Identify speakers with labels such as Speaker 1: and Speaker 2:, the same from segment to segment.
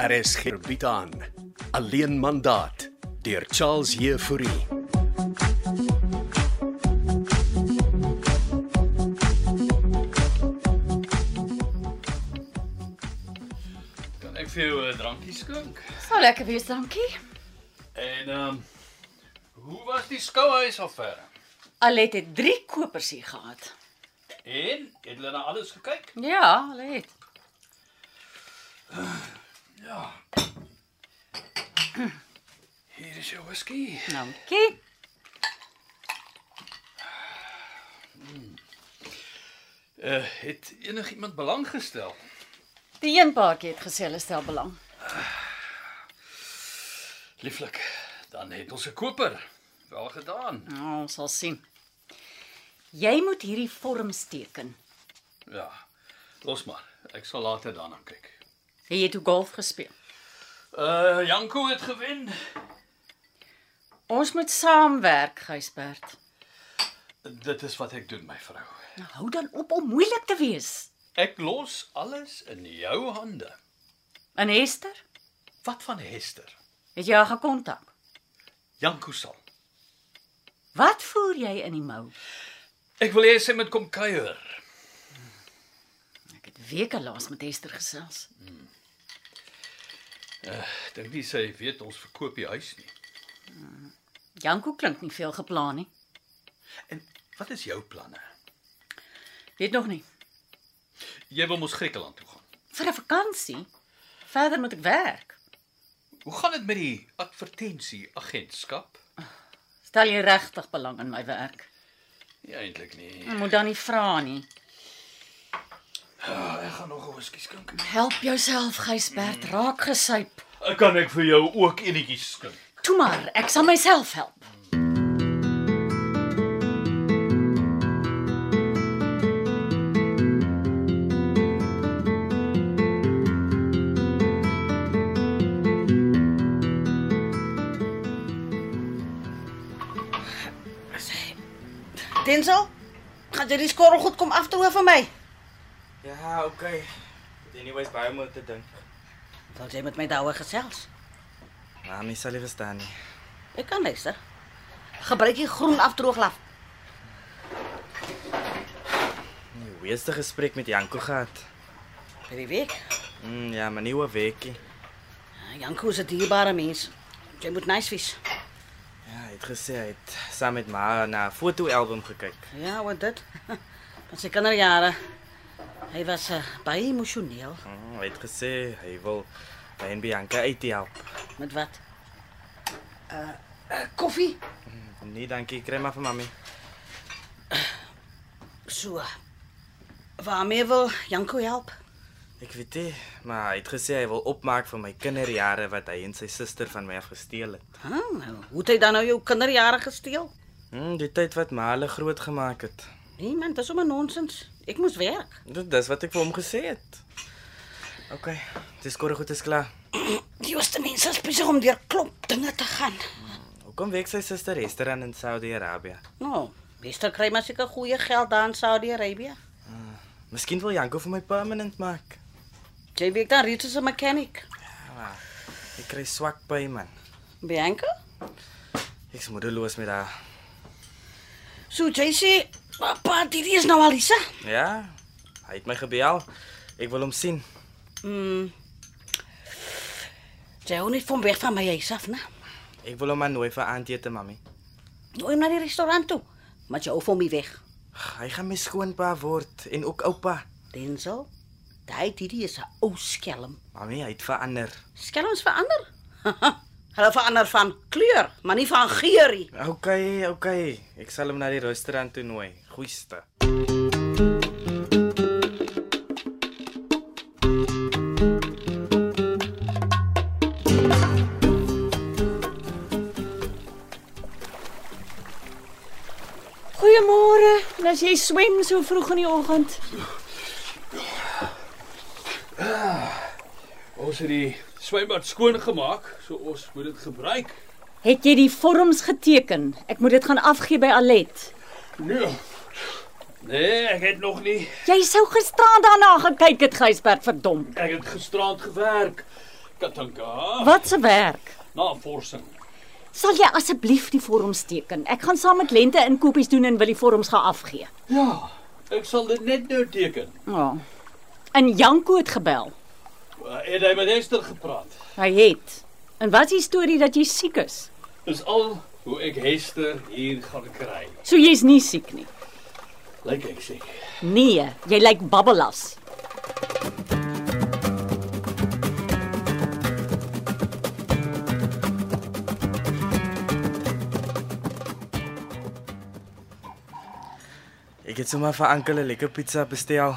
Speaker 1: RSG bied Er aan Alleen mandaat deur Charles Heffouri.
Speaker 2: Kan ek vir jou 'n drankie skink?
Speaker 3: Sou lekker wees, dankie.
Speaker 2: En ehm um, hoe was die skouhuis affære?
Speaker 3: Alet het 3 kopers hier gehad.
Speaker 2: En het hulle na alles gekyk?
Speaker 3: Ja, Alet.
Speaker 2: Hier is jou whisky.
Speaker 3: Dankie.
Speaker 2: Uh, het enigiemand belang gestel?
Speaker 3: Die een paartjie het gesê hulle stel belang.
Speaker 2: Lieflik. Dan het ons 'n koper. Wel gedaan.
Speaker 3: Nou, ons sal sien. Jy moet hierdie vorms teken.
Speaker 2: Ja. Los maar. Ek sal later daarna kyk.
Speaker 3: Jy het toe golf gespeel.
Speaker 2: Uh Janko het gewen.
Speaker 3: Ons moet saamwerk, Gysbert.
Speaker 2: Dit is wat ek doen, my vrou.
Speaker 3: Nou hou dan op om moeilik te wees.
Speaker 2: Ek los alles in jou hande.
Speaker 3: En Hester,
Speaker 2: Wat van Hester?
Speaker 3: het jy haar gekontak?
Speaker 2: Janko sal.
Speaker 3: Wat voer jy in die mou?
Speaker 2: Ek wil hê sy moet kom kuier.
Speaker 3: Ek het weke laas met Hester gesels.
Speaker 2: Dink nie sy weet ons verkoop die huis nie.
Speaker 3: Janko klink nie veel geplan nie.
Speaker 2: En wat is jou planne?
Speaker 3: Weet nog nie.
Speaker 2: Jy wil mos Griekeland toe gaan.
Speaker 3: Vir 'n vakansie. Verder moet ek werk.
Speaker 2: Hoe gaan dit met die advertensie agentskap?
Speaker 3: Stel jy regtig belang in my werk?
Speaker 2: Nee, eintlik nie.
Speaker 3: Jy moet dan nie vra nie.
Speaker 2: Ah, ek gaan nog 'n whisky skink.
Speaker 3: Help jouself, Gysbert, raak gesuip.
Speaker 2: Kan ek vir jou ook enetjie skink?
Speaker 3: Toe maar, ek sal myself help.
Speaker 4: Denzel, gaan jy die skorrel goed kom afdroog vir my?
Speaker 5: Ja, okay. Het anyways baie om oor te dink.
Speaker 4: Wil jy met my daaroor gesels?
Speaker 5: Maar my sal nie verstaan nie.
Speaker 4: Ek kan luister. Gebruik die groen afdrooglaf.
Speaker 5: Die weerste gesprek met Janko gehad.
Speaker 4: Vir die week.
Speaker 5: Mm, ja, maar nie oor weekie.
Speaker 4: Ah, Janko is 'n dierbare mens. Jy moet nice wees.
Speaker 5: Ja, hy het gesê hy het saam met my na 'n fotoalbum gekyk.
Speaker 4: Ja, wat dit? Van sy kinderjare. Hy was uh, baie emosioneel.
Speaker 5: Mm, hy het gesê hy wil my en Bianca uit help.
Speaker 4: Met wat? Uh, uh koffie.
Speaker 5: Nee, dankie, kry maar vir mami.
Speaker 4: So. Waarmee wil Janko help?
Speaker 5: Ek weet nie, maar hy het gesê hy wil opmaak vir my kinderjare wat hy en sy suster van my afgesteel het.
Speaker 4: Huh? Hoe het hy dan nou jou kinderjare gesteel?
Speaker 5: Mm, die tyd wat my hulle groot gemaak het.
Speaker 4: Nee man, dis sommer nonsens. Ek moes werk.
Speaker 5: Dit dis wat ek vir hom gesê het. Okay, dis korrek goed is klaar.
Speaker 4: Die eerste mense is besig om deur klop dinge te gaan.
Speaker 5: Hoekom werk sy suster Esther aan in Saudi-Arabië?
Speaker 4: Nou, meester kry maar seker goeie geld daar in Saudi-Arabië.
Speaker 5: Miskien wil Janko vir my permanent maak.
Speaker 4: Jy weet dan reeds as 'n mechanic.
Speaker 5: Ja, maar ek kry swak by man.
Speaker 4: Bianca?
Speaker 5: Ek's moedeloos met haar.
Speaker 4: So jy sê, "Pappa, dit is nou Alisa."
Speaker 5: Ja, hy het my gebel. Ek wil hom sien.
Speaker 4: Mm. Jy hou nie van weg van my huis af, né?
Speaker 5: Ek wil hom aannooi vir aandete, mami.
Speaker 4: Nooi hom na die restaurant toe, maar jy hou van my weg.
Speaker 5: Hy gaan my skoonpa word en ook oupa.
Speaker 4: Denzel, daai Didi is 'n ou skelm.
Speaker 5: Mami, hy het verander.
Speaker 4: Skelms verander? Hulle verander van kleur, maar nie van geur nie.
Speaker 5: Okay, okay. Ek sal hom na die restaurant toe nooi. Goeieste.
Speaker 6: Goeiemôre. En as jy swem so vroeg in die oggend,
Speaker 2: Ons het die swembad skoon gemaak, so ons moet dit gebruik.
Speaker 6: het jy die vorms geteken. Ek moet dit gaan afgee by Alet.
Speaker 2: Nee. Nee, ek het nog nie.
Speaker 6: Jy sou gisteraan daarna gekyk het, Gysbert, verdomp.
Speaker 2: Ek het gisterand gewerk. Katanka,
Speaker 6: Wat se werk?
Speaker 2: navorsing.
Speaker 6: Sal jy asseblief die vorms teken? Ek gaan saam met Lente inkopies doen en wil die vorms gaan afgee.
Speaker 2: Ja, ek sal dit net nou teken.
Speaker 6: Ja. En Janko het gebel.
Speaker 2: Uh, Het hy met Esther gepraat?
Speaker 6: Hy het. En wat is die storie dat jy siek is?
Speaker 2: Dis al hoe ek Esther hier gaan kry.
Speaker 6: So jy's nie siek nie.
Speaker 2: Lyk ek sê.
Speaker 6: Nee, jy lyk babbelas.
Speaker 5: Ek het sommer vir Ankel 'n lekker pizza bestel.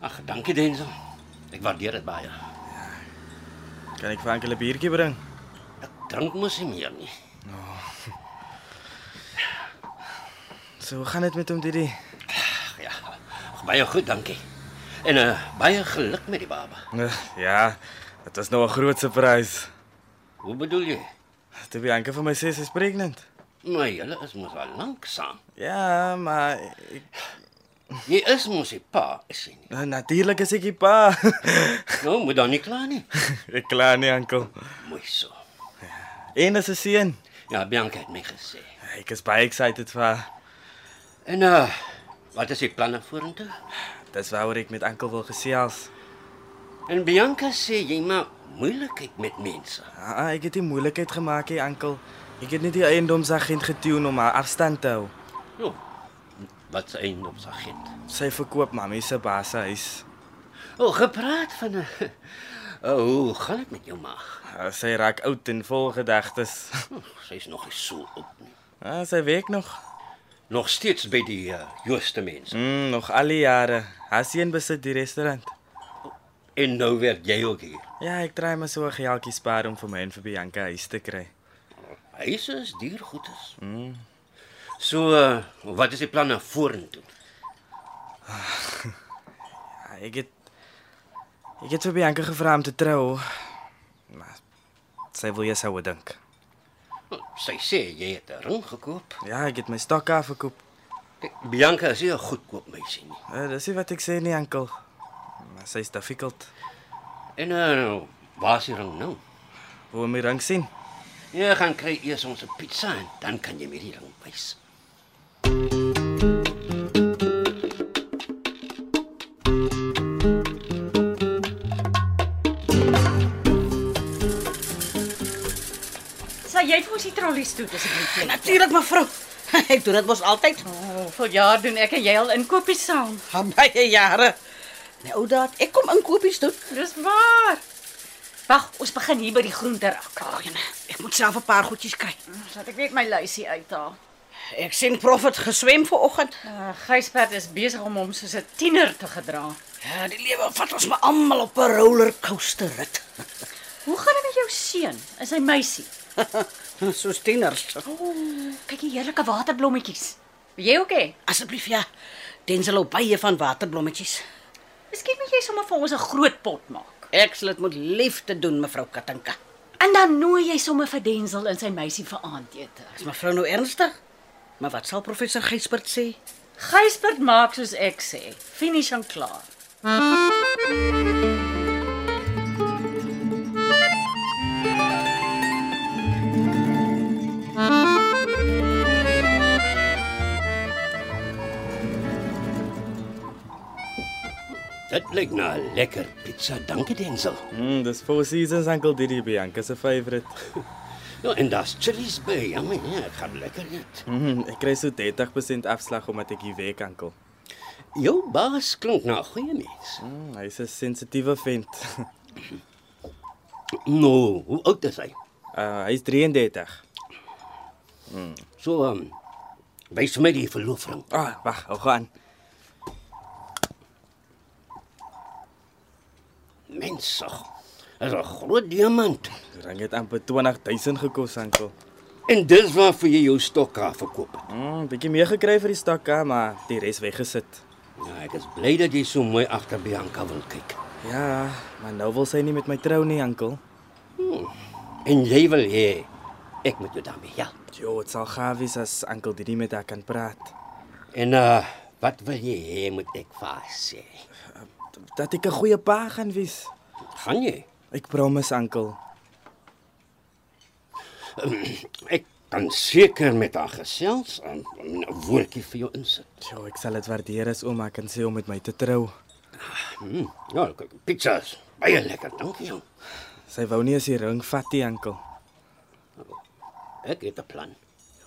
Speaker 7: Ag, dankie Denzel. Ek waardeer dit baie.
Speaker 5: Kan ek vir Ankel 'n biertjie bring?
Speaker 7: Drink mos nie meer nie.
Speaker 5: So, hoe gaan dit met hom, Didi?
Speaker 7: Ag ja. Ag, Baie goed, dankie. En uh, baie geluk met die baba.
Speaker 5: Ugh, Ja, dit was nou 'n groot surprise.
Speaker 7: Hoe bedoel jy?
Speaker 5: Toe by Ankel vir my sê sy is pregnant.
Speaker 7: Maar julle is mos al lank saam.
Speaker 5: Ja, maar ek,
Speaker 7: Jy is mos die pa, is jy nie?
Speaker 5: nou, natuurlik is ek die pa.
Speaker 7: Nou moet dan nie kla nie.
Speaker 5: ek kla nie, Ankel.
Speaker 7: Mooi so.
Speaker 5: En as 'n seun.
Speaker 7: Ja, Bianca het my gesê.
Speaker 5: Ek is baie excited vir haar.
Speaker 7: En uh wat is die planne vorentoe?
Speaker 5: Dis waaroor ek met Ankel wil gesels.
Speaker 7: En Bianca sê jy maak moeilikheid met mense.
Speaker 5: Ah, ah, ek het nie moeilikheid gemaak nie, Ankel. Ek het net die eiendomsagent getune om haar afstand te hou.
Speaker 7: Jo. Wat se een op sy agent.
Speaker 5: Sy verkoop mammie se bashuis.
Speaker 7: O, oh, gepraat van 'n O, oh, hoe gaan dit met jou maag?
Speaker 5: Ah, Sy raak oud en vol gedagtes.
Speaker 7: Hm, Sy's nog nie so op nie.
Speaker 5: Ah, sy werk nog.
Speaker 7: Nog steeds by die uh, Jooste mense.
Speaker 5: Mm, nog al die jare. Haar seun besit die restaurant.
Speaker 7: En nou word jy ook hier.
Speaker 5: Ja, ek try maar so 'n geldjie spaar om vir my en vir Bianca huis te kry.
Speaker 7: Huise is duur goedes. Mm. So, uh, wat is die planne vorentoe?
Speaker 5: Ja, ek het ek het vir Bianca gevra om te trou. Maar sy wil eers hoe dink.
Speaker 7: Wel, Sy sê jy het 'n ring gekoop.
Speaker 5: Ja, ek het my stok afgekoop.
Speaker 7: Kijk, Bianca is nie 'n goedkoop meisie nie.
Speaker 5: Uh, dis nie wat ek sê nie, oom. Maar sy's difficult.
Speaker 7: En uh, waar is die ring nou?
Speaker 5: Hoe om die ring sien?
Speaker 7: Jy gaan kry eers ons 'n pizza en dan kan jy my die ring wys.
Speaker 3: Sal jy vir ons die trollies toe asseblief? Lente?
Speaker 4: Natuurlik mevrou. Ek doen dit mos altyd.
Speaker 3: Hoeveel jaar doen ek en jy al inkopies saam?
Speaker 4: Van baie jare. Nou dat ek kom inkopies doen.
Speaker 3: Dis waar. Wag, ons begin hier by die groenterak.
Speaker 4: Ag, ek moet self 'n paar goedjies kry.
Speaker 3: Hm, Laat ek net my luisie uithaal.
Speaker 4: Ek sien Prophet geswem vanoggend.
Speaker 3: Uh, Gysbert is besig om hom soos 'n tiener te gedra.
Speaker 4: Ja, die lewe vat ons maar almal op 'n rollercoaster rit.
Speaker 3: Hoe gaan dit met jou seun en sy meisie?
Speaker 4: Hm, Soos tieners.
Speaker 3: Kyk die heerlike waterblommetjies. Wil jy ook hê?
Speaker 4: Asseblief ja. Denzel hou baie van waterblommetjies.
Speaker 3: Miskien moet jy sommer vir ons 'n groot pot maak.
Speaker 4: Ek sal dit met liefde doen, mevrou Katinka.
Speaker 3: En dan nooi jy sommer vir Denzel en sy meisie vir aandete.
Speaker 4: Is mevrou nou ernstig? Maar wat sal professor Gysbert sê?
Speaker 3: Gysbert maak soos ek sê. Finish en klaar.
Speaker 7: Dit lyk na 'n lekker pizza. Dankie Denzel.
Speaker 5: Mm, dis Four Seasons oom Didi Bianca se favourite.
Speaker 7: Nou, en daar's chilies by. Ja, my, ja, ek gaan lekker eet.
Speaker 5: Mm, ek kry so 30% afslag omdat ek hier werk, oom.
Speaker 7: Jou baas klink na 'n goeie mens.
Speaker 5: Mm, hy's 'n sensitiewe vent.
Speaker 7: Nou, hoe oud is hy?
Speaker 5: Uh, hy's 33.
Speaker 7: So, um, wys my die verloofring.
Speaker 5: Ah, oh, wag, hou gaan.
Speaker 7: Mensig. Dis 'n groot diamant.
Speaker 5: Die ring het amper 20000 gekos, oom.
Speaker 7: En dis waarvoor jy jou stok af verkoop het.
Speaker 5: Mm, bietjie meer gekry vir die stakka, maar die res weggesit.
Speaker 7: Ja, ek is bly dat jy so mooi agter Bianca wil kyk.
Speaker 5: Ja, maar nou wil sy nie met my trou nie, oom.
Speaker 7: En jy wil hê ek moet jou daarmee help.
Speaker 5: Jo, dit sal gaaf wees as oom Didi met haar kan praat.
Speaker 7: En uh, wat wil jy hê moet ek vir haar sê?
Speaker 5: Dat ek 'n goeie pa gaan wees.
Speaker 7: Gaan jy?
Speaker 5: Ek promise, oom.
Speaker 7: Ek kan seker met haar gesels en 'n woordjie vir jou insit.
Speaker 5: Ja, ek sal dit waardeer as ouma kan sê om met my te trou.
Speaker 7: Mm, ja, kyk, pizzas. Baie lekker, dankie. ou.
Speaker 5: Sy wou nie as die ring vat nie, oom.
Speaker 7: Ek het 'n plan.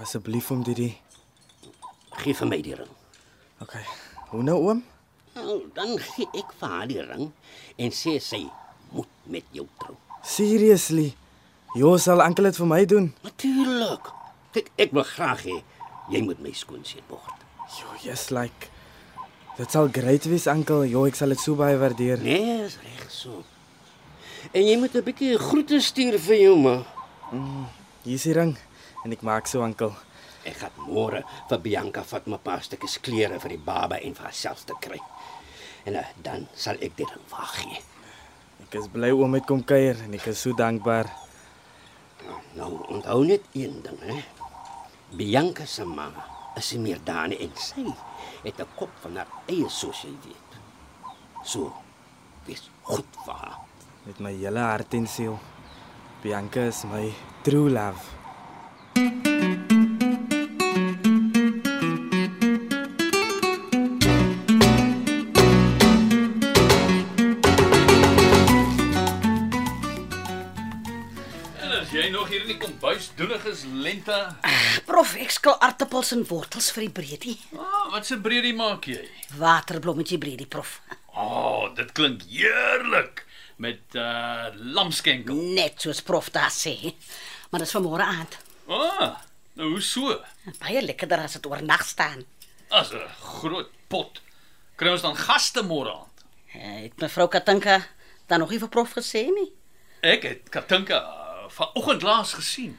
Speaker 5: Asseblief om dit die.
Speaker 7: Gee vir my die ring.
Speaker 5: Okay. Hoe nou, oom?
Speaker 7: Nou, dan gee ek vir haar die ring en sê sy moet met jou trou.
Speaker 5: Seriously? Jo, sal oom dit vir my doen?
Speaker 7: Natuurlik. Kyk, ek wil graag hê jy moet my skoonseun word.
Speaker 5: Jo, yes like. Dit sal great wees, oom. Jo, ek sal dit so baie waardeer.
Speaker 7: Nee, is reg so. En jy moet 'n bietjie groete stuur vir jou ma.
Speaker 5: Hier is die ring en ek maak so, oom.
Speaker 7: Ek gaan môre vir Bianca vat my paar stukkies klere vir die baba en vir haarself te kry. En eh, dan sal ek dit aan wag gee.
Speaker 5: Ek is bly oom het kom kuier en ek is so dankbaar.
Speaker 7: Nou, onthou net een ding, hè. Bianca se ma is nie meer daar nie en sy het 'n kop van haar eie soos jy weet. So, dis goed vir haar.
Speaker 5: Met my hele hart en siel. Bianca is my true love.
Speaker 2: En as jy nog hier in die kombuis doeniges lente.
Speaker 4: Prof, ek skil aartappels en wortels vir die breedie.
Speaker 2: Ah, wat 'n breedie maak jy?
Speaker 4: Waterblommetjie breedie, prof.
Speaker 2: Ah, oh, dit klink heerlik met uh lamskenkel.
Speaker 4: Net soos prof daar sê. Maar dis vir môre aand.
Speaker 2: Ah, nou hoe so?
Speaker 4: Baie lekkerder as dit oornag staan.
Speaker 2: As 'n groot pot. Kry ons dan gaste môre aand.
Speaker 4: Eh, Het mevrou Katinka dan nog nie vir prof gesê nie.
Speaker 2: Ek het Katinka eh, vanoggend laas gesien.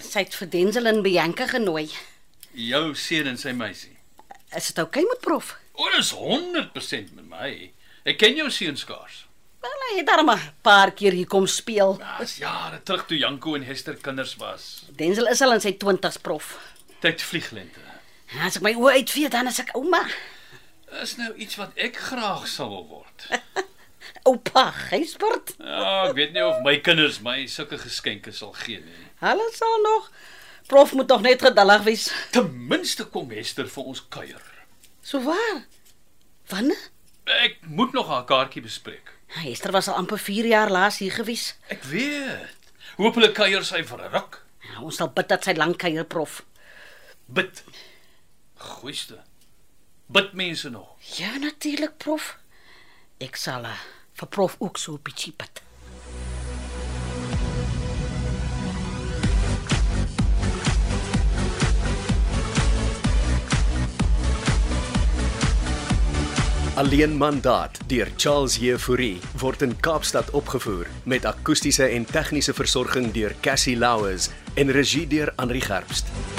Speaker 4: Sy het vir Denzel en Bianca genooi.
Speaker 2: Jou seun en sy meisie.
Speaker 4: Is dit oukei okay met prof?
Speaker 2: O, dis 100% met my. Ek ken jou seun skaars.
Speaker 4: Wel, hy het daar maar 'n paar keer hier kom speel.
Speaker 2: Ah, Dis jare terug toe Janko en Hester kinders was.
Speaker 4: Denzel is al in sy 20's prof.
Speaker 2: Tyd vlieg lente.
Speaker 4: En As ek my oë uitvee, dan is ek ouma.
Speaker 2: Is nou iets wat ek graag sal wil word.
Speaker 4: Oupa, Gysbert.
Speaker 2: Ja, ek weet nie of my kinders my sulke geskenke sal gee nie.
Speaker 4: Hulle sal nog Prof moet nog net geduldig wees.
Speaker 2: Ten minste kom Hester vir ons kuier.
Speaker 4: So waar? Wanneer?
Speaker 2: Ek moet nog haar kaartjie bespreek.
Speaker 4: Hester was al amper 4 jaar laas hier gewees.
Speaker 2: Ek weet. Hoopelik kuier sy vir 'n ruk.
Speaker 4: Ja, Ons sal bid dat sy lank kuier, prof.
Speaker 2: Bid. Goeieste. Bid mense nog.
Speaker 4: Ja, natuurlik, prof. Ek sal eh, vir prof ook so 'n bietjie bid.
Speaker 1: Alleen mandaat deur Charles Jefouri word in Kaapstad opgevoer met akoestiese en tegniese versorging deur Cassie Louws en regie deur Henri Gerst.